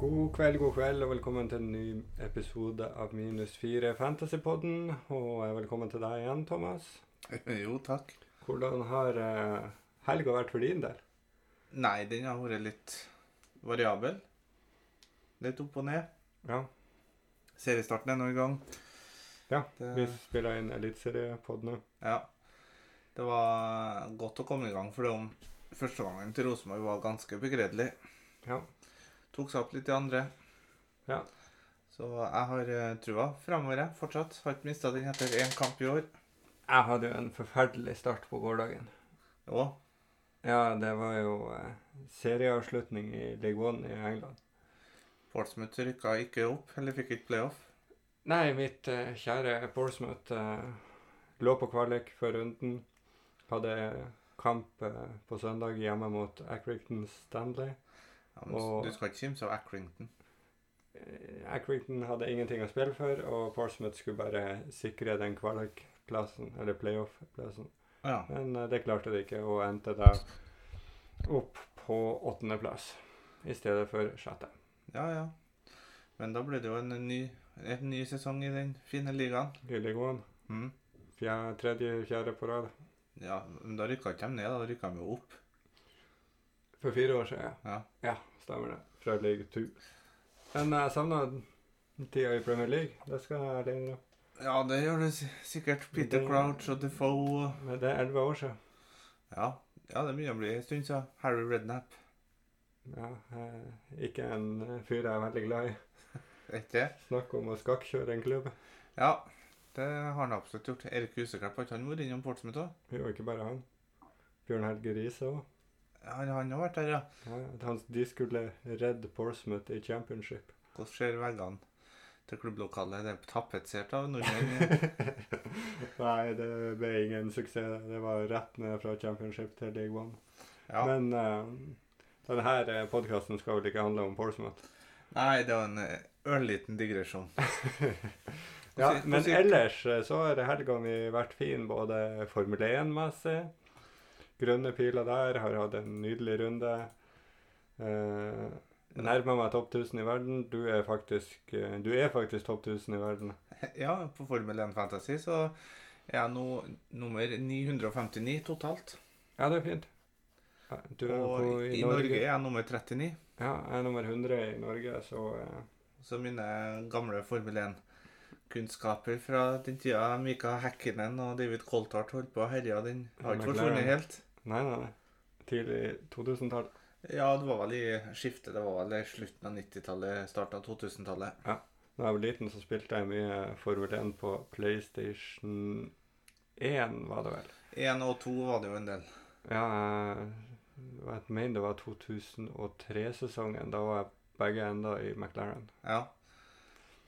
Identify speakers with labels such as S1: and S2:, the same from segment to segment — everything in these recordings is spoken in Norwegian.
S1: God kveld, god kveld, og velkommen til en ny episode av Minus 4 Fantasypodden. Og eh, velkommen til deg igjen, Thomas.
S2: Jo, takk.
S1: Hvordan har eh, helga vært for din del?
S2: Nei, den har vært litt variabel. Litt opp og ned.
S1: Ja,
S2: Seriestarten er nå i gang.
S1: ja.
S2: Det-
S1: vi spiller inn Eliteseriepod nå.
S2: Ja. Det var godt å komme i gang, for det om første gangen til Rosenborg var ganske begredelig.
S1: Ja.
S2: Tok seg opp litt i andre.
S1: Ja.
S2: Så jeg har eh, trua framover, jeg, fortsatt. Har ikke mista den etter én kamp i år.
S1: Jeg hadde jo en forferdelig start på gårsdagen.
S2: Jo.
S1: Ja, det var jo eh, serieavslutning i League One i England.
S2: Portsmouth rykka ikke opp, eller fikk ikke playoff.
S1: Nei, mitt eh, kjære Portsmouth eh, lå på kvalik før runden. Hadde kamp eh, på søndag hjemme mot Accrington Stanley.
S2: Ja, men
S1: Og-
S2: Du skal ikke kimse av Accrington.
S1: Eh, Accrington hadde ingenting å spille for, og Portsmouth skulle bare sikre den kvalikplassen, eller playoff-plassen.
S2: Ja.
S1: Men eh, det klarte de ikke, og endte da opp på åttendeplass i stedet for sjette.
S2: Ja, ja. Men da blir det jo en ny, en ny sesong i den fine ligaen.
S1: Lillegoen,
S2: Mm.
S1: fjer- tredje-fjerde på rad.
S2: Ja, men da rykka ikke de ned, da da rykka de jo opp.
S1: For fire år siden,
S2: Ja.
S1: Ja, stemmer det. Fra League 2. Men eh, jeg savna tida i Premier League. Det skal jeg ærlig innrømme.
S2: Ja, det gjør det si- sikkert. Peter
S1: Det-
S2: Crouch og Defoe og
S1: Men det er elleve år siden.
S2: ja. ja, det begynner å bli en stund siden. Harry Redknapp.
S1: Ja, eh, ikke en fyr jeg er veldig glad i.
S2: Vet ikke det?
S1: Snakk om å skakkjøre en klubb.
S2: Ja, det har han absolutt gjort. Erik Huseklepp, har ikke han vært innom Portsmouth òg?
S1: Jo, ikke bare han. Bjørn Helge Riise òg.
S2: Han han har vært der, ja.
S1: Ja, at han- de skulle redde Portsmouth i championship.
S2: Hvordan ser veggene til klubblokalet? Det er tapetsert av nordmenn.
S1: Nei, det ble ingen suksess. Det var rett ned fra championship til league one.
S2: Ja.
S1: Men eh, denne podkasten skal vel ikke handle om Portsmouth?
S2: Nei, det var en eh, ørliten digresjon.
S1: Ja,
S2: Hvordan-
S1: men
S2: hvordan-
S1: ellers eh, så har helga mi vært fin både Formel 1-messig. Grønne piler der, har hatt en nydelig runde. Eh, nærmer meg topp 1000 i verden. Du er faktisk, eh, du er faktisk topp 1000 i verden.
S2: Ja, på Formel 1 Fantasy så er jeg nå nummer 959 totalt.
S1: Ja, det er fint. Ja, Du er
S2: Og
S1: på,
S2: i Norge er jeg nummer 39.
S1: Ja, jeg er nummer 100 i Norge, så eh,
S2: Så mine gamle Formel 1-kunnskaper fra den tida Mika Häkkinen og David Coulthard holdt på og herja, den har ikke
S1: McLaren.
S2: forsvunnet helt.
S1: Nei, nei, nei. Tidlig 2000-tall.
S2: Ja, det var vel i skiftet. Det var vel i slutten av 90-tallet, starten av 2000-tallet.
S1: Da jeg var liten, så spilte jeg mye Formel 1 på PlayStation 1, var det vel.
S2: Én og to var det jo en del.
S1: Ja, jeg jeg mener det var 2003-sesongen. Da var jeg begge enda i McLaren.
S2: Ja.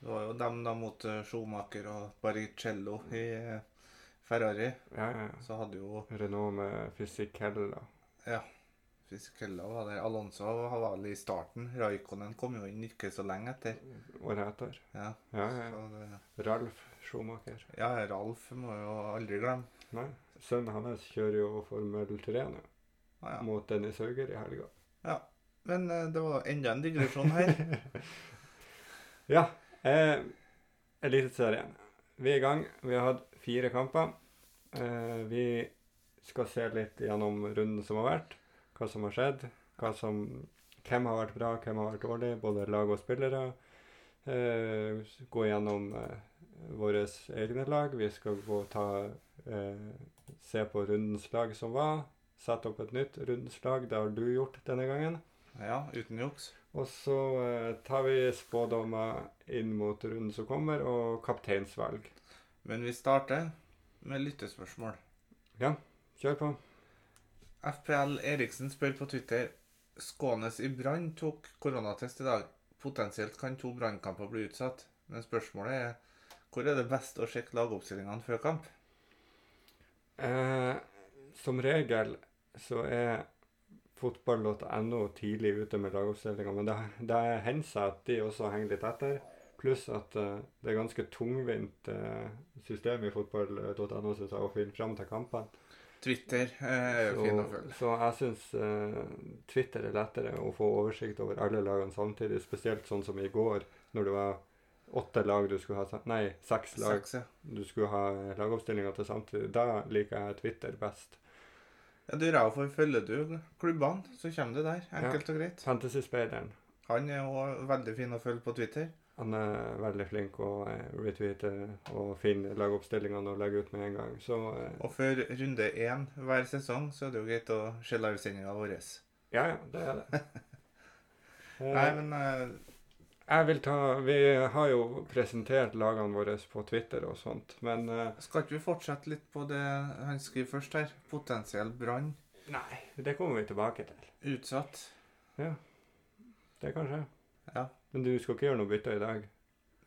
S2: Det var jo dem da mot eh, Schumacher og Barrichello i eh, Ferrari.
S1: Ja, ja. ja.
S2: Så hadde jo
S1: Renault med Fisichella.
S2: Fisichella var der. Alonso var vel i starten. Raikonen kom jo inn ikke så lenge etter.
S1: Året etter.
S2: Ja,
S1: Ja, ja. ja.
S2: så det,
S1: Ralf Schumacher.
S2: ja Ralf må jo aldri glemme.
S1: Nei, sønnen hans kjører jo Formel 3 nå,
S2: Ah, ja.
S1: mot Dennis Hauger i helga.
S2: Men eh, det var enda en digresjon her.
S1: Ja. Eh, Eliteserien. Vi er i gang. Vi har hatt fire kamper. Eh, vi skal se litt gjennom runden som har vært, hva som har skjedd, hva som, hvem har vært bra, hvem har vært dårlig, både lag og spillere. Eh, gå gjennom eh, våre egne lag. Vi skal gå og ta, eh, se på rundens lag som var. Sette opp et nytt rundens lag. Det har du gjort denne gangen.
S2: Ja, uten juks.
S1: Og så eh, tar vi spådommer inn mot runden som kommer, og kapteinsvalg.
S2: Men vi starter med lyttespørsmål.
S1: Kjør på.
S2: FPL Eriksen spør på Twitter Skånes i Brann tok koronatest i dag. Potensielt kan to brannkamper bli utsatt. Men spørsmålet er hvor er det best å sjekke lagoppstillingene før kamp?
S1: Eh, som regel så er fotball.no tidlig ute med lagoppstillinga, men det, det hender seg at de også henger litt etter. Pluss at eh, det er ganske tungvint eh, system i fotball.no synes jeg, å finne fram til kampene.
S2: Twitter eh, er jo fin å
S1: Så,
S2: følge.
S1: så jeg syns eh, Twitter er lettere å få oversikt over alle lagene samtidig, spesielt sånn som i går, når det var åtte lag du skulle ha sam- Nei, seks lag
S2: Seks, ja.
S1: du skulle ha lagoppstillinga til samtidig. Da liker jeg Twitter best.
S2: Ja, du Raufar, følger du klubbene, så kommer det der. Enkelt og greit.
S1: Fantasy-speideren
S2: Han er òg veldig fin å følge på Twitter.
S1: han er veldig flink å eh, retweete og finne lagoppstillingene og legge ut med en gang. Så eh,
S2: Og før runde én hver sesong, så er det jo greit å se livesendinga vår.
S1: ja, ja, det er det. Eh,
S2: Nei, men eh,
S1: Jeg vil ta Vi har jo presentert lagene våre på Twitter og sånt, men eh,
S2: skal ikke vi fortsette litt på det han skriver først her? Potensiell brann.
S1: Nei, det kommer vi tilbake til.
S2: Utsatt.
S1: Det kan skje.
S2: Ja.
S1: Men du skal ikke gjøre noe bytte i dag.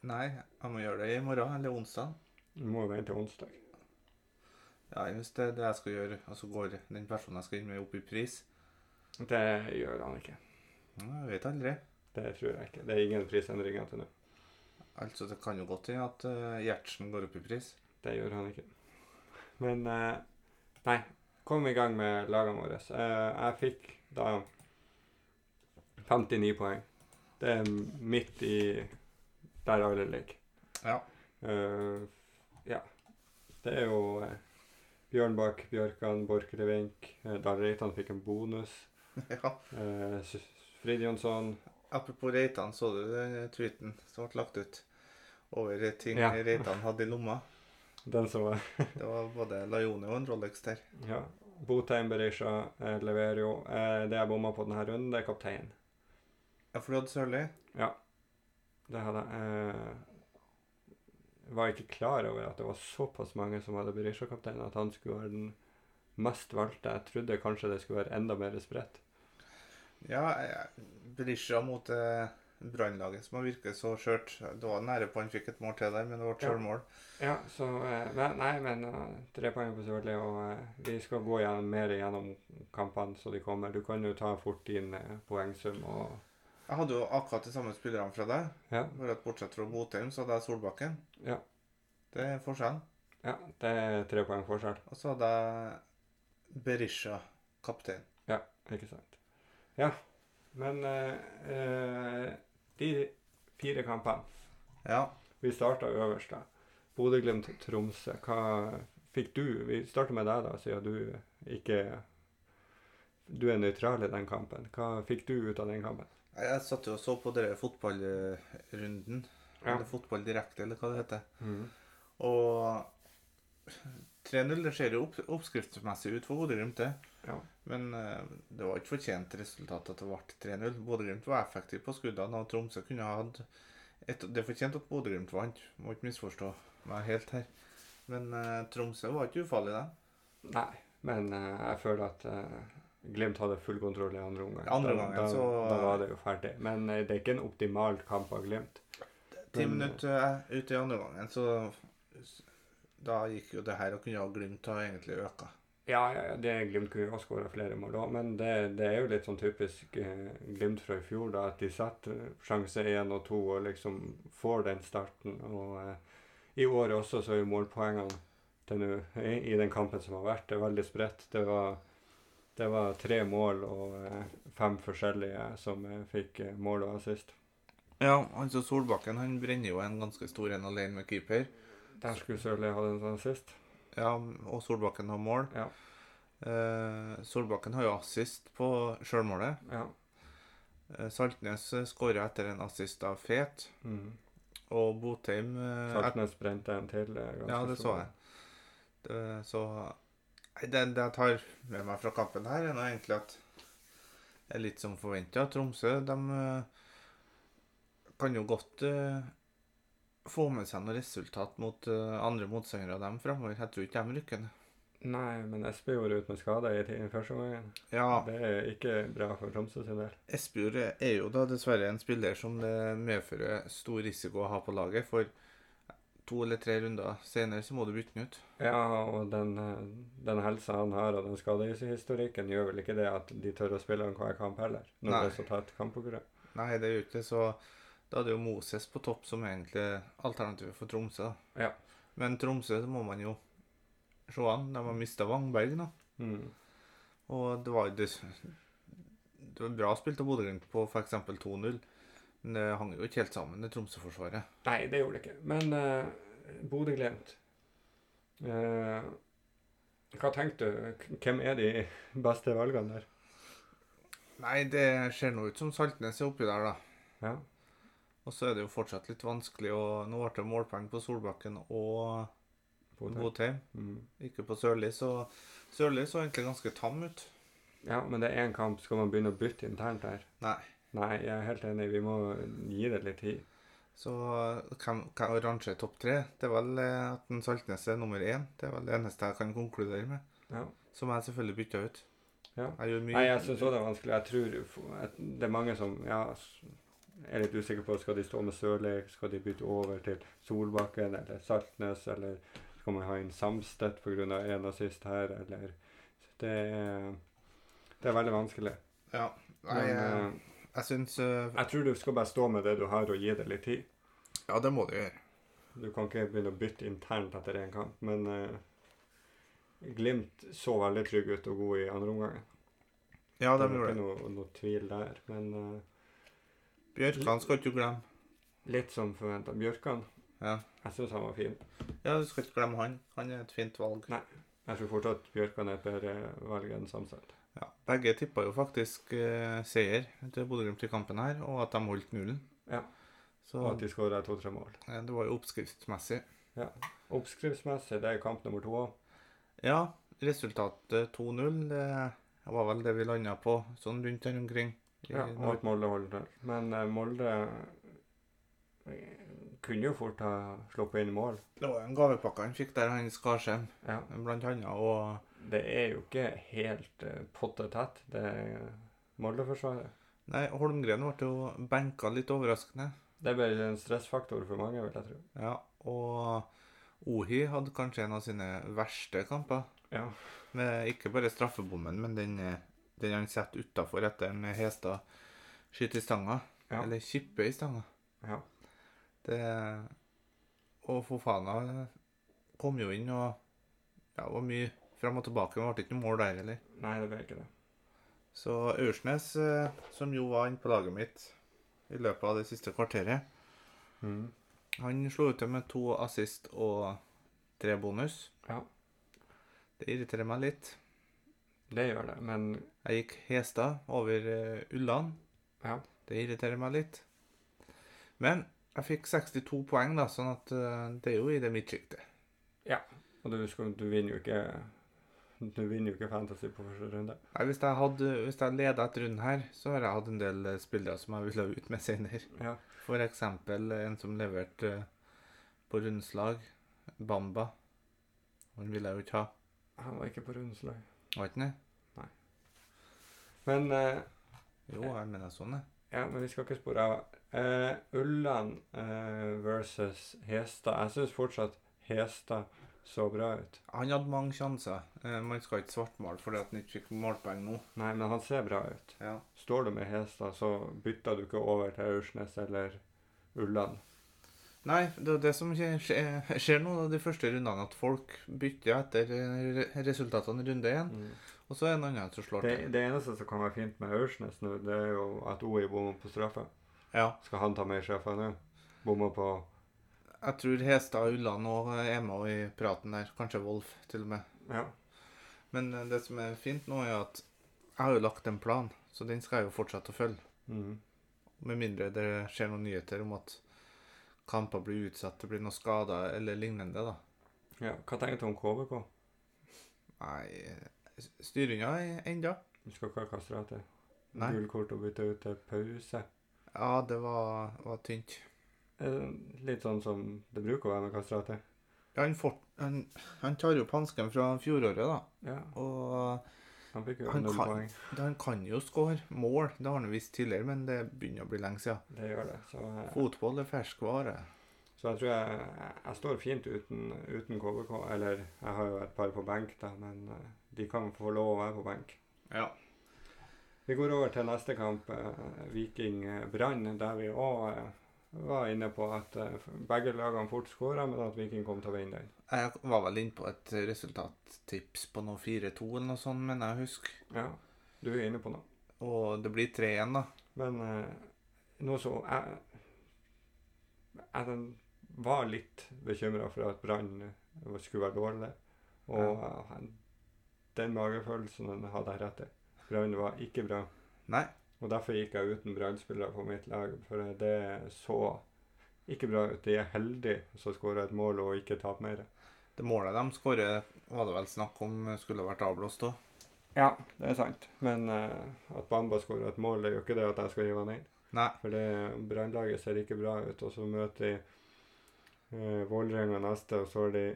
S2: Nei, jeg må gjøre det i morgen eller onsdag.
S1: Du må jo vente til onsdag.
S2: Ja, hvis det er det jeg skal gjøre, og så går den personen jeg skal inn med, opp i pris.
S1: Det gjør han ikke.
S2: Ja, Jeg vet aldri.
S1: Det tror jeg ikke. Det er ingen prisendringer til nå.
S2: Altså, det kan jo godt hende at eh, Gjertsen går opp i pris.
S1: Det gjør han ikke. Men eh, nei, kom i gang med lagene våre. Eh, jeg fikk da 59 poeng. Det er midt i der alle ligger.
S2: Ja.
S1: Eh, ja. Det er jo eh, Bjørnbakk, Bjørkan, Borchgrevink. Eh, Dahl Reitan fikk en bonus.
S2: ja.
S1: Eh, S- Fridjonsson
S2: Apropos Reitan, så du den tweeten som ble lagt ut over ting
S1: Ja.
S2: Reitan hadde i lomma?
S1: Den som var
S2: Det var både Laione og en Rolex der.
S1: Ja. Botheim, Berisha, eh, Leverio. Eh, det jeg bomma på denne runden, det er kapteinen.
S2: Ja, for du hadde Sørli?
S1: Det hadde jeg eh, var ikke klar over at det var såpass mange som hadde Berisha-kaptein at han skulle være den mest valgte. Jeg trodde kanskje det skulle være enda mer spredt.
S2: Ja, jeg- Berisha mot eh, Brannlaget som har virket så skjørt. Det var nære på han fikk et mål til der, men det ble
S1: Ja.
S2: sjølmål.
S1: Ja, så eh, nei, nei, men eh, tre poeng på Sørli, og eh, vi skal gå igjen, mer gjennom kampene så de kommer. Du kan jo ta fort din eh, poengsum og
S2: Jeg hadde jo akkurat de samme spillerne fra deg,
S1: ja,
S2: bare at bortsett fra Botheim, så hadde jeg Solbakken.
S1: Ja.
S2: Det er forskjellen.
S1: ja, det er tre poeng forskjell.
S2: Og så hadde jeg Berisha, kaptein.
S1: Ikke sant. Ja, men eh, eh, de fire kampene
S2: Ja.
S1: Vi starta øverst, da. Bodø-Glimt-Tromsø. Hva fikk du? Vi starter med deg, da, siden du ikke Du er nøytral i den kampen. Hva fikk du ut av den kampen?
S2: Nei, Jeg satt jo og så på dere fotballrunden,
S1: Ja.
S2: eller fotball direkte, eller hva det heter.
S1: Mm.
S2: Og 3-0 det ser jo opp, oppskriftsmessig ut for Bodø-Glimt, det.
S1: Ja.
S2: Men eh, det var ikke fortjent resultat at det ble 3-0. Bodø-Glimt var effektiv på skuddene, og Tromsø kunne ha hatt et, Det er fortjent at Bodø-Glimt vant, må ikke misforstå meg helt her. Men eh, Tromsø var ikke ufarlig, da.
S1: Nei, men eh, jeg føler at eh, Glimt hadde full kontroll i andre omgang.
S2: Andre
S1: Da-
S2: omgangen,
S1: da,
S2: så-
S1: Da var det jo ferdig. Men eh, det er ikke en optimal kamp av Glimt.
S2: Ti
S1: Men-
S2: minutter eh, ute i andre gangen, så da gikk jo det her, og kunne ha Glimt ha egentlig øka.
S1: Ja, ja, ja, det Glimt kunne jo ha skåra flere mål òg, men det, det er jo litt sånn typisk eh, Glimt fra i fjor, da, at de setter sjanse én og to og liksom får den starten. Og eh, i år også så er jo målpoengene til nå i, i den kampen som har vært, det er veldig spredt. Det var, det var tre mål og eh, fem forskjellige som eh, fikk eh, mål og assist.
S2: Ja, altså Solbakken han brenner jo en ganske stor en alene med keeper.
S1: Der skulle Sørli ha den sånn sist.
S2: Ja, og Solbakken har mål.
S1: Ja.
S2: Eh, Solbakken har jo assist på sjølmålet.
S1: Ja.
S2: Eh, Saltnes skåra etter en assist av Fet.
S1: Mm.
S2: Og Botheim eh,
S1: Saltnes brente en til. eh, ganske
S2: Ja, det så
S1: stor.
S2: jeg. Det, så Nei, det, det jeg tar med meg fra kampen her, er nå egentlig at det er litt som forventa. Tromsø de eh, kan jo godt eh, få med seg noe resultat mot eh, andre motstandere av dem framover. Jeg tror ikke de rykker ned.
S1: Nei, men Espejord er ute med skade i ti- i første omgang.
S2: Ja,
S1: Det er ikke bra for Tromsø sin del.
S2: Espejord er jo da dessverre en spiller som det medfører stor risiko å ha på laget. For to eller tre runder senere så må du bytte den ut.
S1: Ja, og den, eh, den helsa han har, og den skadehistorikken, gjør vel ikke det at de tør å spille han hver kamp heller, når
S2: Nei.
S1: det er så tett kampprogram.
S2: Nei, det gjør ikke det. Så da er det jo Moses på topp som egentlig er alternativet for Tromsø. da.
S1: Ja.
S2: Men Tromsø så må man jo se an. De har mista Wangberg nå.
S1: Mm.
S2: Og det var jo det, det var bra spilt av Bodø-Glimt på f.eks. 2-0, men det hang jo ikke helt sammen, det Tromsø-forsvaret.
S1: Nei, det gjorde det ikke. Men uh, Bodø-Glimt eh, Hva tenkte du? K- Hvem er de beste valgene der?
S2: Nei, det ser nå ut som Saltnes er oppi der, da.
S1: Ja.
S2: Og så er det jo fortsatt litt vanskelig å Nå ble det målpoeng på Solbakken og
S1: Bodø.
S2: Botheim,
S1: Mm.
S2: ikke på Sørli, så Sørli så egentlig ganske tam ut.
S1: Ja, men det er én kamp. Skal man begynne å bytte internt der?
S2: Nei.
S1: Nei, jeg er helt enig. Vi må gi det litt tid.
S2: Så hvem hvem å rangere topp tre? Det er vel eh, at en Saltnes er nummer én. Det er vel det eneste jeg kan konkludere med.
S1: Ja.
S2: Som jeg selvfølgelig bytta ut.
S1: Ja.
S2: Jeg gjør mye.
S1: Nei, jeg syns òg det er vanskelig. Jeg tror f- at det er mange som ja, s- er litt usikre på skal de stå med Sørli, skal de bytte over til Solbakken eller Saltnes, eller skal man ha inn Samstedt pga. en assist her, eller Det er, det er veldig vanskelig.
S2: Ja. Nei,
S1: Men
S2: jeg,
S1: eh,
S2: jeg syns eh,
S1: jeg tror du skal bare stå med det du har, og gi det litt tid.
S2: Ja, det må du gjøre.
S1: Du kan ikke begynne å bytte internt etter én kamp, men eh, Glimt så veldig trygg ut og god i andre omgang.
S2: Ja,
S1: Det
S2: de
S1: er
S2: gjorde
S1: ikke
S2: det.
S1: noe, noe tvil der, men eh,
S2: Bjørkan skal ikke du glemme.
S1: Litt som forventa. Bjørkan,
S2: Ja.
S1: jeg syns han var fin.
S2: ja, du skal ikke glemme han. Han er et fint valg.
S1: Nei. Jeg tror fortsatt Bjørkan er et bedre valg enn Samstedt.
S2: Ja. Begge tippa jo faktisk eh, seier til Bodø-Glimt i kampen her, og at de holdt nullen.
S1: Ja.
S2: Så
S1: Og at de skåra to-tre mål.
S2: eh, det var jo oppskriftsmessig.
S1: Oppskriftsmessig, det er kamp nummer to òg.
S2: Ja, resultatet 2-0 det var vel det vi landa på, sånn rundt her omkring. I
S1: Ja, og
S2: Nor-
S1: at Molde holder til. Men eh, Molde eh, kunne jo fort ha sluppet inn mål.
S2: Det var jo en gavepakke han fikk der, han Skarsheim,
S1: Ja.
S2: blant annet. Og
S1: Det er jo ikke helt eh, potte tett, det er Molde-forsvaret.
S2: Nei, Holmgren ble jo benka litt overraskende.
S1: Det ble en stressfaktor for mange, vil jeg tro.
S2: Ja, og Ohi hadde kanskje en av sine verste kamper.
S1: Ja.
S2: Med ikke bare straffebommen, men den, eh, den han setter utafor etter en Hestad skyter i stanga.
S1: Ja.
S2: Eller kipper i stanga.
S1: Ja.
S2: Det Og Fofana kom jo inn og Ja, det var mye fram og tilbake. men Det ble ikke noe mål der heller.
S1: Nei, det ble ikke det.
S2: Så Aursnes, eh, som jo var inne på laget mitt i løpet av det siste kvarteret,
S1: Mm.
S2: han slo ut til med to assist og tre bonus.
S1: Ja.
S2: Det irriterer meg litt.
S1: Det gjør det, men
S2: Jeg gikk Hestad over eh, Ulland.
S1: ja.
S2: Det irriterer meg litt. Men jeg fikk 62 poeng, da, sånn at eh, det er jo i det midtsjiktet.
S1: Og du, skal, du vinner jo ikke Du vinner jo ikke Fantasy på første runde.
S2: Nei, Hvis jeg, hadde, hvis jeg leda et runde her, så har jeg hatt en del eh, spillere som jeg ville ha ut med senere.
S1: Ja.
S2: For eksempel en som leverte eh, på rundslag, Bamba. Han ville jeg jo ikke ha.
S1: Han var ikke på rundens lag.
S2: Var ikke det?
S1: Men eh,
S2: Jo, jeg mener sånn, jeg.
S1: ja, men vi skal ikke spore av. Eh, Ulland eh, versus Hestad. Jeg syns fortsatt Hestad så bra ut.
S2: Han hadde mange sjanser. Eh, Man skal ikke svartmale fordi at han ikke fikk målpoeng nå.
S1: Nei, men han ser bra ut.
S2: Ja.
S1: Står du med Hestad, så bytter du ikke over til Aursnes eller Ulland.
S2: Nei, det er det som skje- skje- skjer nå, da, de første rundene, at folk bytter etter eh, re- resultatene i runde én.
S1: Mm.
S2: Og så er det en annen som slår
S1: Det,
S2: til.
S1: det eneste som kan være fint med Aursnes nå, det er jo at OI bommer på straffe.
S2: Ja.
S1: Skal han ta mer straffer nå? Bommer på
S2: Jeg tror Hestad og Ulland òg er med i praten der. Kanskje Wolf, til og med.
S1: Ja.
S2: Men eh, det som er fint nå, er at jeg har jo lagt en plan, så den skal jeg jo fortsette å følge.
S1: Mm.
S2: Med mindre det skjer noen nyheter om at kamper blir utsatt, det blir noen skader eller lignende, da.
S1: Ja, hva tenkte du om KVK?
S2: Nei, styringa enda.
S1: Du skal ikke ha kastratet.
S2: Nei.
S1: Gult kort og bytte ut til pause.
S2: Ja, det var, var tynt.
S1: Eh, Litt sånn som det bruker å være med kastratet.
S2: Ja, han, fort, han, han tar jo opp hansken fra fjoråret, da.
S1: Ja,
S2: Og
S1: han fikk jo
S2: Han
S1: null
S2: kan-
S1: poeng.
S2: det, han kan jo skåre mål, det har han visst tidligere, men det begynner å bli lenge siden.
S1: Det gjør det. Så, eh,
S2: Fotball er ferskvare.
S1: så jeg tror jeg, jeg står fint uten, uten KVK. Eller jeg har jo et par på benk, da, men eh, de kan få lov å være på benk.
S2: Ja.
S1: Vi går over til neste kamp, eh, Viking-Brann, der vi òg var inne på at eh, begge lagene fort skåra, men at Viking kom til å vinne den.
S2: Jeg var vel inne på et resultattips på noe 4-2 eller noe sånt, men jeg husker.
S1: Ja, du er inne på noe.
S2: Og det blir 3-1, da.
S1: Men eh, noe som jeg, jeg var litt bekymra for at Brann skulle være dårlig. Og eh, den magefølelsen den hadde jeg rett i. Brann var ikke bra.
S2: Nei.
S1: Og derfor gikk jeg uten Brann-spillere på mitt lag, for det så ikke bra ut. De er heldige som skårer et mål og ikke taper mer.
S2: Det målet de skårer, var det vel snakk om skulle vært avblåst òg.
S1: Ja, det er sant. Men eh, at Bamba skårer et mål, det gjør ikke det at jeg skal hive han inn.
S2: Nei.
S1: For det Brannlaget ser ikke bra ut, og så møter de eh, Vålerenga neste, og så har de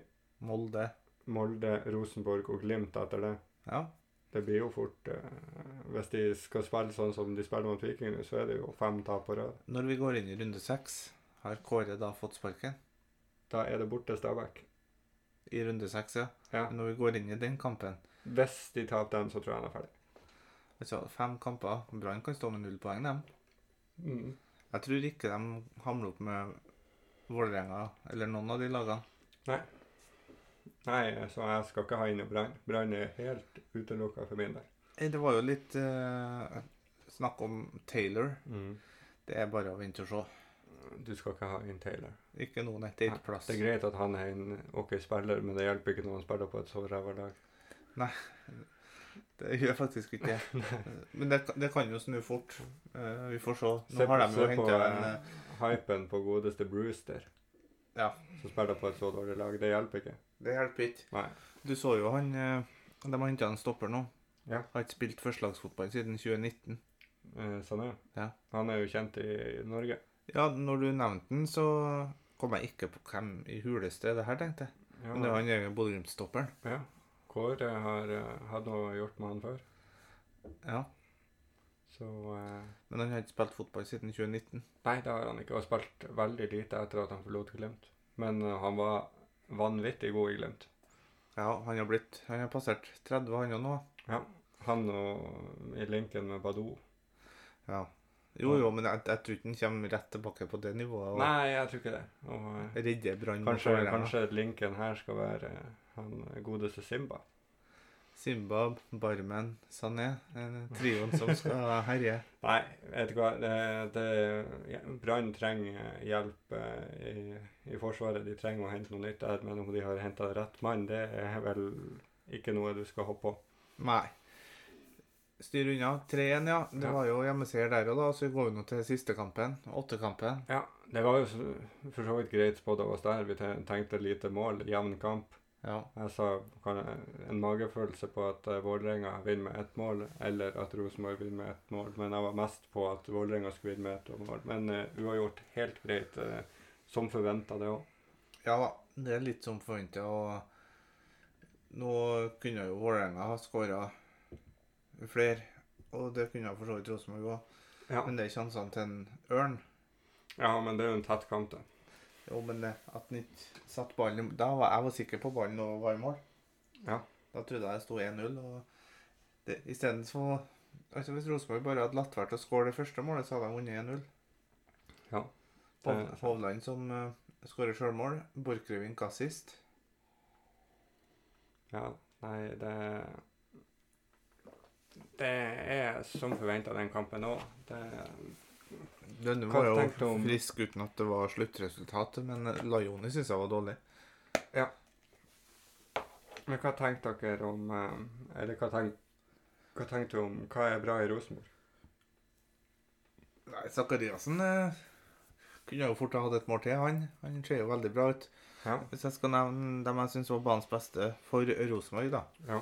S2: Molde.
S1: Molde, Rosenborg og Glimt etter det.
S2: Ja.
S1: Det blir jo fort eh, Hvis de skal spille sånn som de spiller mot Viking, så er det jo fem tap på rad.
S2: Når vi går inn i runde seks, har Kåre da fått sparken?
S1: Da er det borte Stabæk.
S2: I runde seks, ja.
S1: Ja.
S2: Når vi går inn i den kampen
S1: Hvis de taper den, så tror jeg han er ferdig.
S2: Altså, fem kamper. Brann kan stå med null poeng, dem.
S1: Mm.
S2: Jeg tror ikke de hamler opp med Vålerenga eller noen av de lagene.
S1: Nei, så jeg skal ikke ha inn i Brann. Brann er helt utelukka for min del.
S2: Eh, Det var jo litt eh, snakk om Taylor. Det er bare å vente og se.
S1: Du skal ikke ha inn Taylor.
S2: Ikke nå, nei. Det er ikke plass.
S1: Det er greit at han er en ok spiller, men det hjelper ikke når han spiller på et så ræva lag.
S2: Det gjør faktisk ikke det. Men det, det kan jo snu fort. Eh, vi får se. Nå
S1: Se på-
S2: har de jo
S1: se på,
S2: henta en
S1: eh,
S2: eh,
S1: Hypen på godeste Brewster,
S2: Ja,
S1: som spiller på et så dårlig lag, det hjelper ikke.
S2: det hjelper ikke.
S1: Nei.
S2: Du så jo han eh, De har henta en stopper nå.
S1: Ja.
S2: Har ikke spilt førstelagsfotball siden 2019.
S1: Eh, Sånn er
S2: Ja.
S1: Han er jo kjent i Norge.
S2: Ja, når du nevnte den, så kom jeg ikke på hvem i huleste er det her, tenkte jeg.
S1: Ja,
S2: Men det er han egen Bodø-Glimt-stopperen.
S1: ja. Kåre har eh, hatt noe gjort med han før,
S2: Ja.
S1: så eh,
S2: Men han har ikke spilt fotball siden 2019.
S1: Nei, det har han ikke. Og spilt veldig lite etter at han forlot Glimt. Men eh, han var vanvittig god i Glimt.
S2: Ja, han har blitt Han har passert 30, han òg nå.
S1: Han og i linken med Badou.
S2: Ja. Jo, jo, men jeg, jeg tror ikke han kommer rett tilbake på det nivået. og
S1: Nei, jeg tror ikke det. Og, eh,
S2: Redde Brann. mot
S1: kanskje,
S2: Vålerenga.
S1: kanskje linken her skal være eh, han godeste Simba.
S2: Simba, Barmen, Sané. eh, Trioen som skal herje.
S1: Nei, vet du hva. Det, det, ja, Brann trenger hjelp eh, i, i Forsvaret. De trenger å hente noe nytt der, men om de har henta rett mann, det er vel ikke noe du skal hoppe på.
S2: Nei. Styr unna. 3-1, ja. Det
S1: Ja.
S2: var jo hjemmeseier der òg, da. Så vi går vi nå til siste kampen. Åttekampen.
S1: Ja, det var jo så- for så vidt greit spådd av oss der. Vi te- tenkte lite mål, jevn kamp.
S2: Ja.
S1: Jeg sa kan jeg- en magefølelse på at eh, Vålerenga vinner med ett mål, eller at Rosenborg vinner med ett mål. Men jeg var mest på at Vålerenga skulle vinne med ett mål. Men eh, uavgjort helt greit, eh, som forventa det òg.
S2: Ja da, det er litt som forventa. Og nå kunne jo Vålerenga ha skåra flere. Og det kunne for så vidt Rosenborg òg.
S1: Ja.
S2: Men det er sjansene til en ørn.
S1: ja, men det er jo en tett kamp, det.
S2: Jo, men det- at han ikke satte ballen i- Da var jeg var sikker på ballen og var i mål.
S1: Ja.
S2: Da trodde jeg det sto 1-0. og det- isteden så altså Hvis Rosenborg bare hadde latt være til å skåre det første målet, så hadde de vunnet 1-0.
S1: Ja.
S2: Hov-
S1: Det er sant.
S2: Hovland som uh, skårer sjølmål. Borchgrevink assist.
S1: Ja, nei, det Det er som forventa den kampen òg.
S2: Denne
S1: Hva
S2: var jo
S1: tenkte du om-
S2: frisk uten at det var sluttresultatet, men eh, Lajoni syns jeg var dårlig.
S1: Men hva tenkte dere om eh, Eller hva, tenk, hva tenkte du om Hva er bra i Rosenborg?
S2: Nei, Zakariassen eh, kunne jo fort ha hatt et mål til, han. Han ser jo veldig bra ut.
S1: Ja.
S2: Hvis jeg skal nevne dem jeg syns var banens beste for Rosenborg, da,
S1: ja.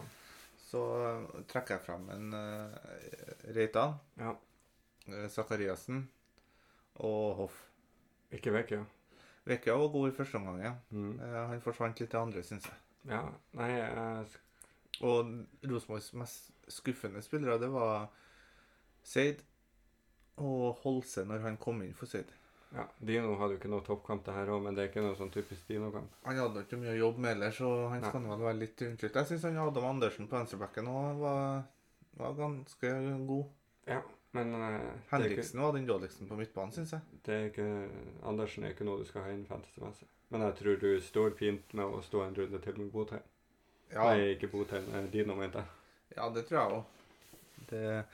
S2: så eh, trekker jeg fram en eh, Reitan,
S1: Ja.
S2: eh, Zakariassen og Hoff.
S1: Ikke vekk, ja.
S2: Vekka var god i første omgang. Ja.
S1: Mm.
S2: Eh, Han forsvant litt i andre, syns jeg.
S1: Ja, nei, jeg sk-
S2: Og Rosenborgs mest skuffende spillere, det var Seid og Holse når han kom inn for Seid.
S1: ja, Dino hadde jo ikke noe toppkamp det her òg, men det er ikke noe sånn typisk Dino-kamp.
S2: Han hadde ikke mye å jobbe med ellers, og han
S1: Nei.
S2: skal vel være litt unnskyldt. Jeg syns Adam Andersen på venstrebacken òg var, var ganske god.
S1: Ja. Men eh, det, er ikke,
S2: Henriksen var den dårligste på midtbanen, syns jeg.
S1: det er ikke Andersen er ikke noe du skal ha inn fantasymessig. Men jeg tror du står fint med å stå en runde til med Botheim.
S2: Ja,
S1: Nei, ikke Botheim. eh, Dino, mente jeg.
S2: ja det tror jeg òg.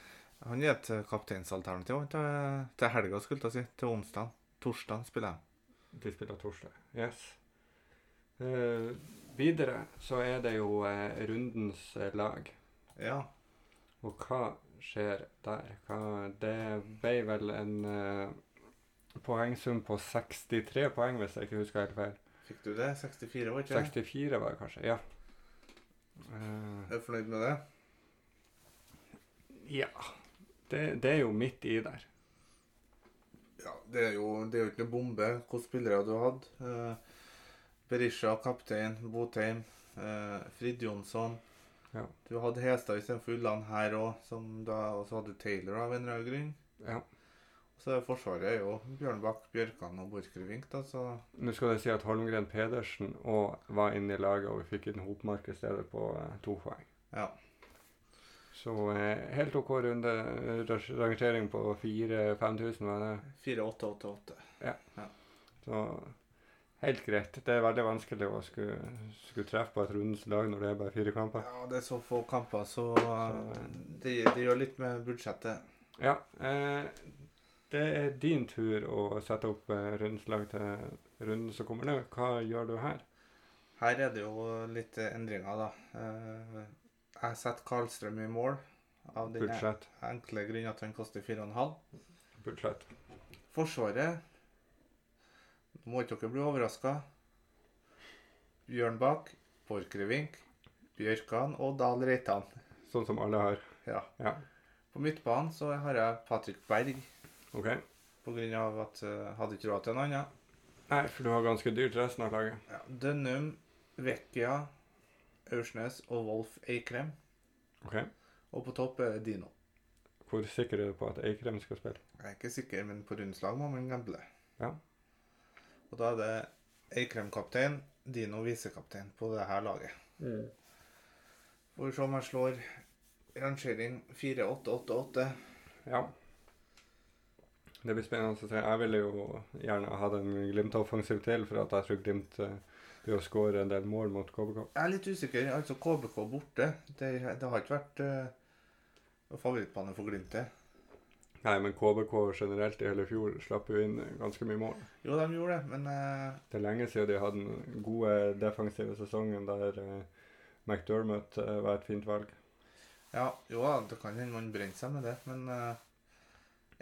S2: Han er et kapteinsalternativ han, til, til helga, skulle jeg til å si. Til onsdag. Torsdag spiller jeg.
S1: De spiller torsdag. Yes. Eh, videre så er det jo eh, rundens eh, lag.
S2: Ja.
S1: Og hva skjer der? Hva, det ble vel en eh, poengsum på 63 poeng, hvis jeg ikke husker helt feil.
S2: Fikk du det? 64, var ikke det?
S1: 64 var det kanskje, ja. Eh,
S2: Er du fornøyd med det?
S1: ja. Det, det er jo midt i der.
S2: Ja, det er jo, det er jo ikke noe bombe hvilke spillere du har hatt. Eh, Berisha, kaptein, Botheim, eh, Frid Jonsson.
S1: Ja.
S2: Du hadde Hestad istedenfor Ulland her òg, og så hadde du Taylor av en eller annen grunn.
S1: Ja.
S2: Og så er Forsvaret er jo Bjørnbakk, Bjørkan og Borchgrevink, da, så
S1: Nå skal det si at Holmgren Pedersen og var inne i laget, og vi fikk en hopmark i stedet på eh, to poeng.
S2: ja.
S1: Så eh, helt OK runde, eh, rangering på 4000-5000, var det?
S2: 4-8-8-8.
S1: Så helt greit. Det er veldig vanskelig å skulle, skulle treffe på et rundens lag når det er bare fire kamper.
S2: Ja, det er så få kamper, så eh,
S1: Så-
S2: det, det gjør litt med budsjettet.
S1: Ja. Eh, det er din tur å sette opp eh, rundens lag til runden som kommer nå. Hva gjør du her?
S2: Her er det jo litt eh, endringer, da. Eh, Jeg setter Karlstrøm i mål. Av den
S1: Budsjett.
S2: enkle grunn at han koster 4,5.
S1: Budsjett.
S2: Forsvaret Nå må ikke dere bli overraska. Bjørnbakk, Borchgrevink, Bjørkan og Dahl Reitan.
S1: Sånn som alle har.
S2: Ja.
S1: Ja.
S2: På midtbanen så har jeg Patrick Berg
S1: OK?
S2: pga. at jeg hadde ikke råd til en annen.
S1: Nei, for du har ganske dyrt resten av laget.
S2: Ja. Dønnum, Vekkia, Aursnes og Wolf Eikrem.
S1: OK?
S2: Og på topp er det Dino.
S1: Hvor sikker er du på at Eikrem skal spille?
S2: Jeg er ikke sikker, men på rundslag må man gamble.
S1: Ja.
S2: Og da er det Eikrem-kaptein, Dino visekaptein på det her laget. Får vi se om jeg slår rangering 4888.
S1: Ja. Det blir spennende å se. Jeg ville jo gjerne hatt en Glimt-offensiv til, for at jeg tror Glimt eh, blir å skåre en del mål mot KBK.
S2: Jeg er litt usikker. Altså KBK borte. Det, det har ikke vært uh, favorittbane for Glimt, det.
S1: Nei, men KBK generelt i hele fjor slapp jo inn ganske mye mål.
S2: Jo, de gjorde det, men eh,
S1: Det er lenge siden de hadde den gode defensive sesongen der eh, McDermott eh, var et fint valg.
S2: Ja, jo da, det kan hende man brenner seg med det, men eh,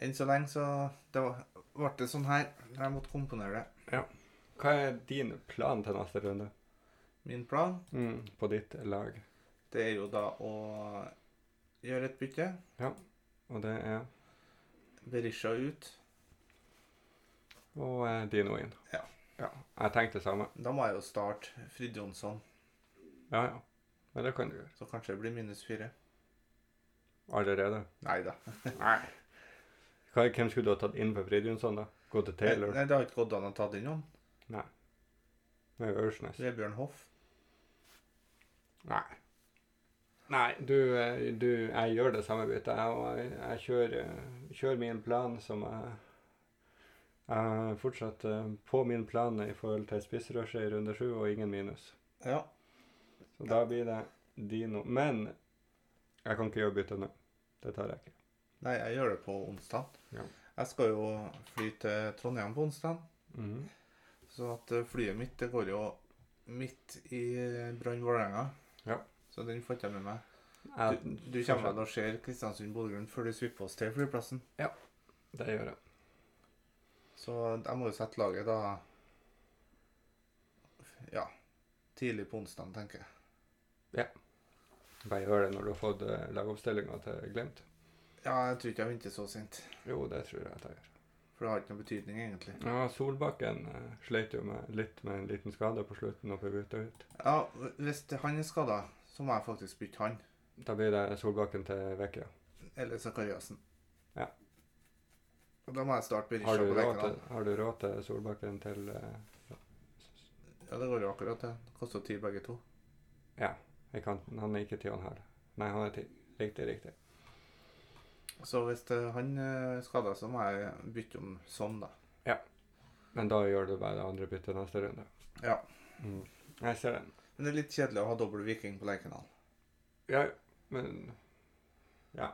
S2: enn så lenge så det var, ble det sånn her. Jeg måtte komponere det.
S1: Hva er din plan til neste runde
S2: Min plan
S1: mm, på ditt lag?
S2: Det er jo da å gjøre et bytte.
S1: Og det er
S2: Berisha ut.
S1: og eh, Dino inn.
S2: Ja.
S1: ja. Jeg tenkte det samme.
S2: Da må jeg jo starte Frid Jonsson,
S1: Ja, ja. Men det kan du gjøre.
S2: så kanskje det blir minus fire.
S1: Allerede.
S2: Nei da.
S1: Nei. Hva, hvem skulle du ha tatt inn for Fridjonsson, da? Gå til Taylor?
S2: Nei, det har ikke gått an å ta inn noen.
S1: Med Ørsnes?
S2: Vebjørn Hoff.
S1: Nei. Nei, du, eh, du Jeg gjør det samme byttet. Jeg, og jeg, jeg kjører, eh, kjører min plan som jeg Jeg er fortsatt eh, på min plan i forhold til spissrushet i runde sju, og ingen minus.
S2: Ja.
S1: Så da blir det Dino. Men jeg kan ikke gjøre byttet nå. Det tar jeg ikke.
S2: Nei, jeg gjør det på onsdag.
S1: Ja.
S2: Jeg skal jo fly til Trondheim på onsdag,
S1: Mhm.
S2: så at eh, flyet mitt det går jo midt i Brann Vålerenga.
S1: Ja.
S2: Så den får ikke jeg med meg.
S1: jeg,
S2: Du, du kommer vel og ser Kristiansund-Bodø-Glimt før du svipper oss til flyplassen.
S1: Det gjør jeg.
S2: Så jeg må jo sette laget da Ja. Tidlig på onsdag, tenker jeg.
S1: Bare gjør det når du har fått eh, lagoppstillinga til Glimt.
S2: Ja, jeg tror ikke jeg venter så sent.
S1: Jo, det tror jeg at jeg gjør.
S2: For det har ikke noe betydning, egentlig.
S1: Ja, Solbakken eh, slet jo med, litt med en liten skade på slutten oppe i Butaut.
S2: Ja, Hvis det- han er skada, så må jeg faktisk bytte han.
S1: Da blir det Solbakken til Vekkia.
S2: Eller Sakariassen.
S1: Ja.
S2: Og da må jeg starte
S1: Har,
S2: Berisha
S1: du
S2: på
S1: råd
S2: benken.
S1: til- har du råd til Solbakken til eh,
S2: da. Ja, det går jo akkurat, det. Det Koster ti begge to.
S1: i kanten? Han er ikke ti han her. Nei, han er ti. Riktig, riktig.
S2: Så hvis eh, han eh, skader seg, må jeg bytte om sånn, da.
S1: Men da gjør du bare det andre byttet neste runde.
S2: Ja.
S1: Mm. Jeg ser den.
S2: Men det er litt kjedelig å ha dobbel viking på Lerkendal.
S1: Ja, men Ja.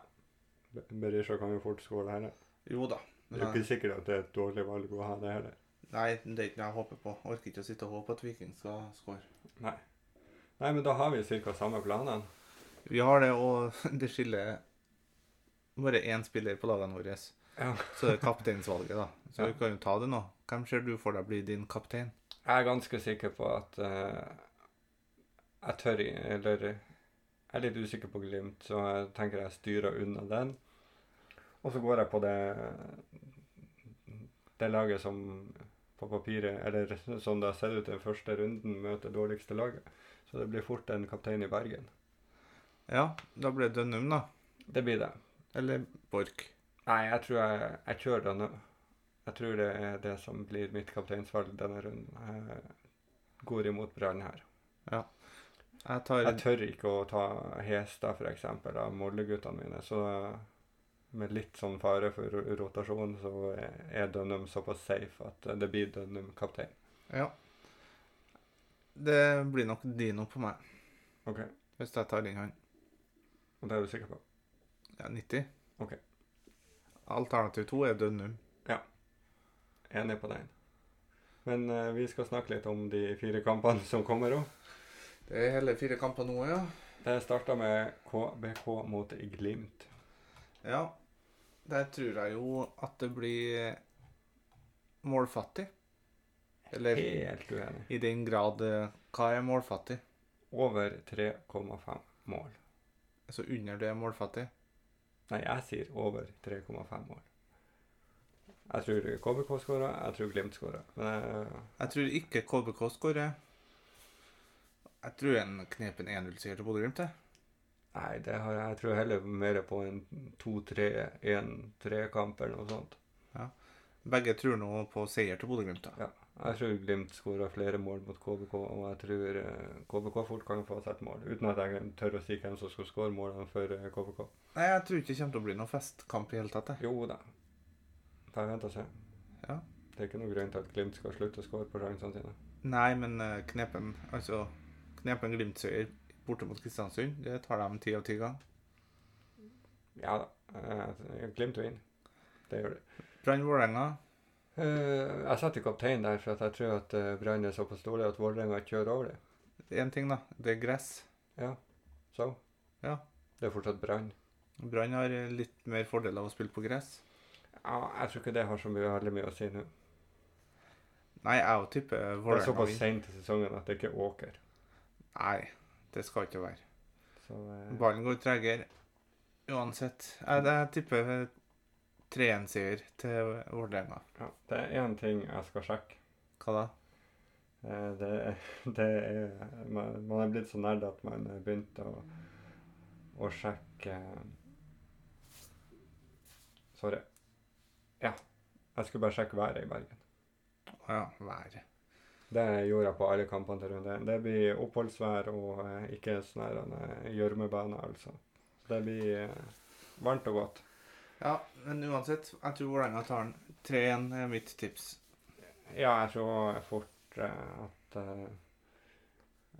S1: Be- Berisha kan jo fort skåre her. da.
S2: Jo da.
S1: Det er jo
S2: Men
S1: ikke
S2: jeg,
S1: sikkert at det er et dårlig valg å ha det heller.
S2: nei, det er ikke noe jeg håper på. Jeg orker ikke å sitte og håpe at Viking skal skåre.
S1: Nei, men da har vi ca. samme planene.
S2: Vi har det, og det skiller bare én spiller på lagene våre.
S1: Ja.
S2: Så det er kapteinsvalget, da. Så
S1: Ja.
S2: vi kan jo ta det nå. Hvem ser du for deg blir din kaptein?
S1: Jeg er ganske sikker på at eh, jeg tør i- Eller jeg er litt usikker på Glimt, så jeg tenker jeg styrer unna den. Og så går jeg på det det laget som på papiret, eller som det har sett ut den første runden, møter dårligste laget. Så det blir fort en kaptein i Bergen.
S2: Ja, da blir det Dønnum, da.
S1: Det blir det.
S2: Eller Borch.
S1: Nei, jeg tror jeg, jeg kjører denne. Jeg tror det er det som blir mitt kapteinsvalg denne runden. Jeg går imot Brann her.
S2: Jeg tar
S1: Jeg tør ikke å ta Hestad, for eksempel, av Molde-guttene mine. Så med litt sånn fare for ro- rotasjon, så er Dønnum såpass safe at det blir Dønnum kaptein.
S2: Ja. Det blir nok Dino på meg,
S1: OK,
S2: hvis jeg tar inn han.
S1: og det er du sikker på?
S2: Ja, 90.
S1: Ok.
S2: Alternativ to er Dønnum.
S1: Enig på den. Men eh, vi skal snakke litt om de fire kampene som kommer òg.
S2: Det er hele fire kamper nå, ja.
S1: Det starta med KBK mot Glimt.
S2: Ja. Der tror jeg jo at det blir målfattig. Eller
S1: Helt uenig.
S2: i den grad eh, Hva er målfattig?
S1: Over 3,5 mål.
S2: Altså under det er målfattig.
S1: Nei, jeg sier over 3,5 mål. Jeg tror KBK skåra, jeg tror Glimt skåra. Men jeg
S2: Jeg tror ikke KBK skårer. eh. Jeg tror en knepen 1-0-seier til Bodø-Glimt, eh. jeg.
S1: Nei, det har jeg, jeg tror heller mer på en 2-3-1-3-kamp eller noe sånt.
S2: Begge tror nå på seier til Bodø-Glimt, da.
S1: Ja. Jeg tror Glimt skåra flere mål mot KBK, og jeg tror eh, KBK fort kan få seg et mål. Uten at jeg tør å si hvem som skal skåre målene for eh, KBK.
S2: Nei, jeg tror ikke det kommer til å bli noen festkamp i hele tatt. jeg.
S1: Jo da. Får jeg vente og se.
S2: Ja.
S1: Det er ikke noe grunn til at Glimt skal slutte å skåre på sjansene sine.
S2: Nei, men eh, knepen Altså, knepen Glimt-seier borte mot Kristiansund, det tar dem ti av ti ganger.
S1: Ja da. eh, Glimt vinner. Det gjør de.
S2: Brann Vålerenga.
S1: Eh, jeg setter kaptein der, for at jeg tror at eh, Brann er såpass dårlig at Vålerenga kjører over det.
S2: Én ting, da. Det er gress.
S1: Ja. Så.
S2: Ja.
S1: Det er fortsatt Brann.
S2: Brann har eh, litt mer fordel av å spille på gress.
S1: Ja, jeg tror ikke det har så mye, veldig mye å si nå.
S2: Nei, jeg òg tipper
S1: Det er
S2: Vålerenga
S1: såpass
S2: vinner.
S1: sent i sesongen at det ikke er åker.
S2: Nei, det skal ikke være.
S1: Så eh,
S2: Ballen går tregere. Uansett. Jeg, jeg tipper eh, 3-1-seier til Vålerenga.
S1: ja, det er én ting jeg skal sjekke.
S2: Hva da?
S1: Eh, det, det er Man, man er blitt så nerd at man eh, begynte å, å sjekke eh, Sorry. Ja. Jeg skulle bare sjekke været i Bergen.
S2: Å ja, været.
S1: Det gjorde jeg på alle kampene til runde. én. Det blir oppholdsvær og eh, ikke sånn her, eh, gjørmebane, altså. Så det blir eh, varmt og godt.
S2: Ja, men uansett. Jeg tror Vålerenga tar den. 3-1 er mitt tips.
S1: Ja, jeg så fort eh, at eh,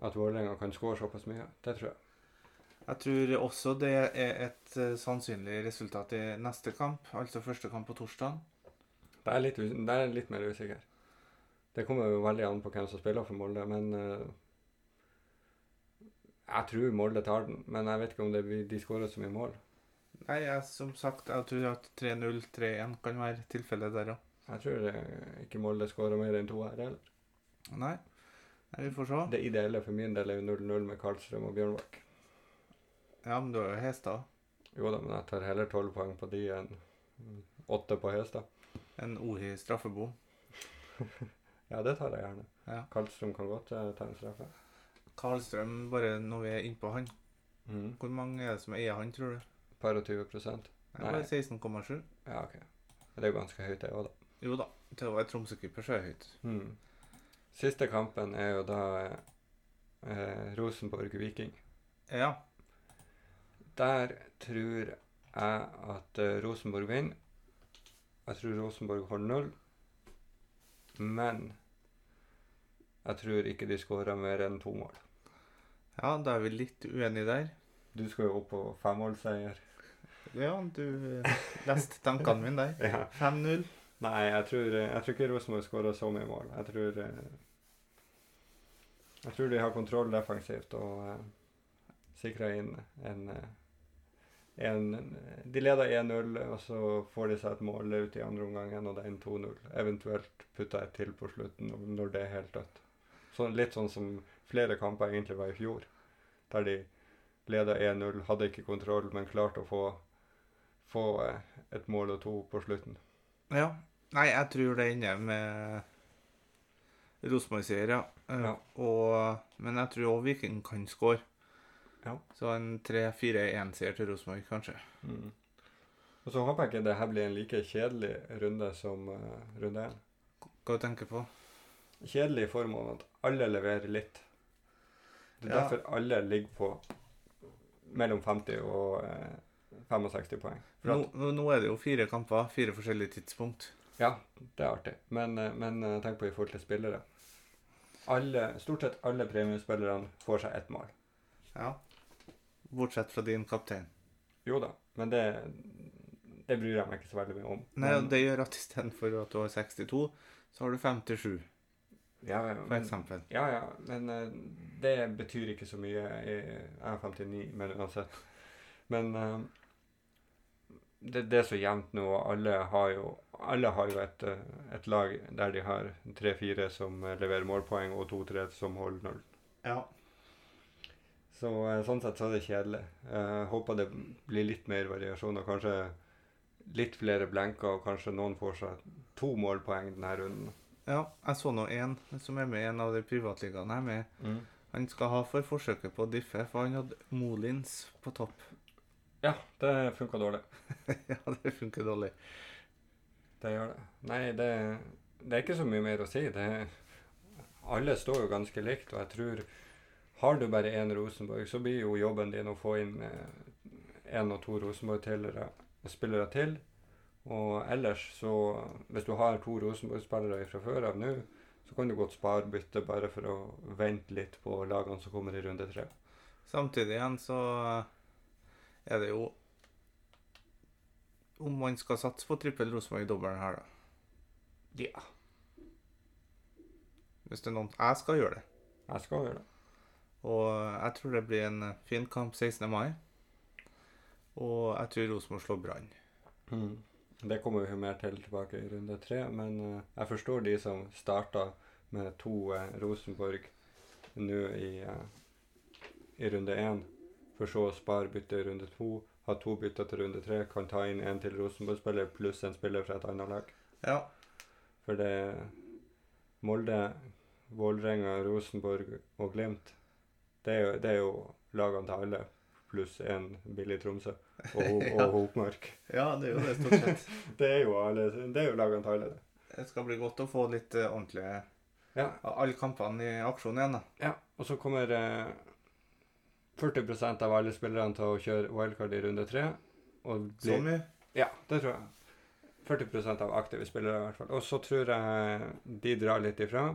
S1: at Vålerenga kan skåre såpass mye. Det tror jeg.
S2: Jeg tror også det er et eh, sannsynlig resultat i neste kamp, altså første kamp på torsdag.
S1: Det er litt, us det er litt mer usikker. Det kommer jo veldig an på hvem som spiller for Molde, men eh, jeg tror Molde tar den. Men jeg vet ikke om det blir, de skårer så mye mål.
S2: Nei, jeg, som sagt, jeg tror at 3-0, 3-1 kan være tilfellet der òg.
S1: Jeg tror eh, ikke Molde skårer mer enn to her heller.
S2: Nei. Nei, vi får se.
S1: Det ideelle for min del er jo 0-0 med Karlstrøm og Bjørnbakk.
S2: Ja, men du har jo Hestad.
S1: Jo da, men jeg tar heller 12 poeng på de enn 8 på Hestad.
S2: En Ohi straffebom.
S1: Ja, det tar jeg gjerne.
S2: Ja.
S1: Karlstrøm kan godt eh, ta en straffe.
S2: Karlstrøm, bare når vi er innpå han.
S1: Mm.
S2: Hvor mange er det som eier han, tror du?
S1: Par og 20 prosent.
S2: Nei, bare
S1: Nei.
S2: 16,7.
S1: Ja, ok. Det er jo ganske høyt, det òg, da.
S2: Jo da, til å være Tromsø-keeper så er det høyt.
S1: Mm. Siste kampen er jo da eh, eh, Rosenborg-Viking.
S2: Ja.
S1: Der tror er at eh, Rosenborg vinner. Jeg tror Rosenborg holder null. Men jeg tror ikke de skårer mer enn to mål.
S2: Ja, da er vi litt uenige der.
S1: Du skal jo opp på femmålseier.
S2: Ja, du eh, leste tankene mine der.
S1: Ja.
S2: 5-0.
S1: Nei, jeg tror, eh, jeg tror ikke Rosenborg skårer så mye mål. Jeg tror, eh, jeg tror de har kontroll defensivt og eh, sikrer inn en, eh, en De leder 1-0, og så får de seg et mål ut i andre omgang, og det er en 2-0. Eventuelt putter et til på slutten om- når det er helt dødt. Så litt sånn som flere kamper egentlig var i fjor, der de leda 1-0, hadde ikke kontroll, men klarte å få, få eh, et mål og to på slutten.
S2: Ja. Nei, jeg tror det ender med Rosenborg-seier, ja. Eh,
S1: Ja.
S2: Og, men jeg tror òg Viking kan score.
S1: Ja.
S2: Så en 3-4-1-seier til Rosenborg, kanskje.
S1: Mm. Og så håper jeg ikke det her blir en like kjedelig runde som eh, runde én.
S2: Hva du tenker på?
S1: Kjedelig i form av at alle leverer litt. Det er
S2: Ja.
S1: derfor alle ligger på mellom 50 og eh, 65 poeng. For
S2: Nå,
S1: at,
S2: nå- nå er det jo fire kamper, fire forskjellige tidspunkt.
S1: ja, det er artig. Men, eh, men eh, tenk på i forhold til spillere. Alle, stort sett alle premiespillerne får seg ett mål.
S2: Ja. Bortsett fra din kaptein.
S1: Jo da, men det, det bryr jeg meg ikke så veldig mye om.
S2: Nei, og
S1: men,
S2: Det gjør at istedenfor at du har 62, så har du 57,
S1: ja, ja,
S2: for
S1: men-
S2: eksempel.
S1: Ja, ja, men eh, det betyr ikke så mye. Jeg er 59, men uansett. Men eh, det, det er så jevnt nå, og alle har jo, alle har jo et, eh, et lag der de har tre-fire som eh, leverer målpoeng, og to-tre som holder null.
S2: Ja.
S1: Så eh, sånn sett så er det kjedelig. Jeg håper det blir litt mer variasjon, og kanskje litt flere blenker, og kanskje noen får seg to målpoeng denne runden.
S2: Ja, jeg så nå en som er med i en av de privatligaene jeg er med i.
S1: Mm.
S2: Han skal ha for forsøket på å diffe, for han hadde Molins på topp.
S1: Ja, det funka dårlig.
S2: ja, det funker dårlig.
S1: Det gjør det. Nei, det, det er ikke så mye mer å si. Det, alle står jo ganske likt, og jeg tror har du bare én Rosenborg, så blir jo jobben din å få inn én og to Rosenborg-spillere spillere til. Og ellers så Hvis du har to Rosenborg-spillere fra før av nå, så kan du godt spare byttet bare for å vente litt på lagene som kommer i runde tre.
S2: Samtidig igjen så eh, er det jo Om man skal satse på trippel Rosenborg i dobbelen her, da.
S1: Ja.
S2: Hvis det er noen Jeg skal gjøre det.
S1: Jeg skal gjøre det.
S2: Og jeg tror det blir en fin kamp 16. mai. Og jeg tror Rosenborg slår Brann.
S1: Mm. Det kommer vi mer til tilbake i runde tre, men eh, jeg forstår de som starta med to eh, Rosenborg nå i, eh, i runde én, for så å spare byttet i runde to, ha to bytter til runde tre, kan ta inn en til Rosenborg-spiller pluss en spiller fra et annet lag.
S2: Ja.
S1: For det er Molde, Vålerenga, Rosenborg og Glimt, det er jo, det er jo lagene til alle, pluss en billig Tromsø og, Ho-
S2: Ja.
S1: og Hopmark.
S2: ja, det er jo det, stort sett.
S1: Det er jo, alle, det er jo lagene til alle, det.
S2: Det skal bli godt å få litt eh, ordentlige
S1: Ja.
S2: Alle kampene i aksjon igjen, da.
S1: Ja, og så kommer eh, 40 av alle spillerne til å kjøre wildcard i runde tre. Og
S2: Så
S1: blir,
S2: mye.
S1: ja, det tror jeg. 40 av aktive spillere, i hvert fall. Og så tror jeg de drar litt ifra.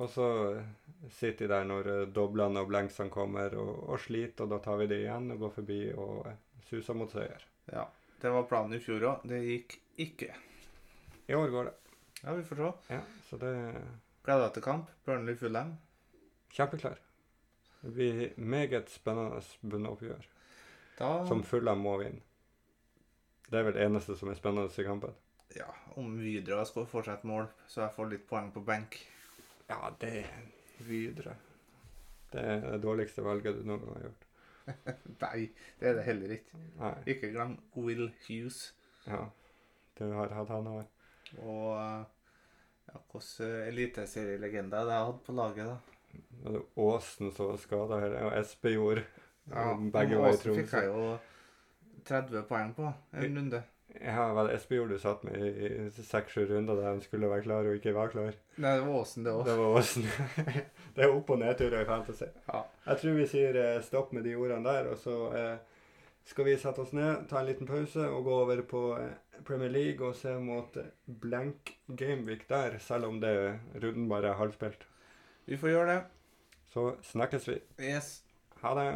S1: Og så sitter de der når eh, doblene og blenksene kommer og, og sliter, og da tar vi det igjen og går forbi og eh, suser mot seier.
S2: Ja. Det var planen i fjor òg. Det gikk ikke.
S1: I år går det.
S2: Ja, vi får se.
S1: Ja, så det er
S2: Gleder deg til kamp. Burnley Fulham.
S1: kjempeklar. Det blir meget spennende bunnoppgjør.
S2: Da
S1: Som Fulham må vinne. Det er vel det eneste som er spennende i kampen.
S2: Ja, om Widerøe skal fortsette mål, så jeg får litt poeng på benk.
S1: Ja, det er videre. Det er det dårligste valget du noen gang har gjort.
S2: Nei, det er det heller ikke.
S1: Nei.
S2: Ikke glem Will Hughes.
S1: Ja. Du har hatt han her.
S2: Og eh, ja, hvilken eliteserielegende er det jeg hadde på laget, da?
S1: Og det er Åsen som var skada her. Og Espe gjorde
S2: men
S1: begge var i
S2: Aasen fikk
S1: Tromsø.
S2: jeg jo 30 poeng på en runde.
S1: Ja, vel, Espe gjorde du satt med i i seks-sju runder der han skulle være klar og ikke var klar.
S2: Nei, det var Åsen, det òg.
S1: Det var Åsen. det er opp- og nedturer i fantasy.
S2: Ja.
S1: Jeg tror vi sier eh, stopp med de ordene der, og så eh, skal vi sette oss ned, ta en liten pause og gå over på eh, Premier League og se mot eh, blank gameweek der, selv om det runden bare er halvspilt.
S2: Vi får gjøre det.
S1: Så snakkes vi.
S2: Yes.
S1: Ha det.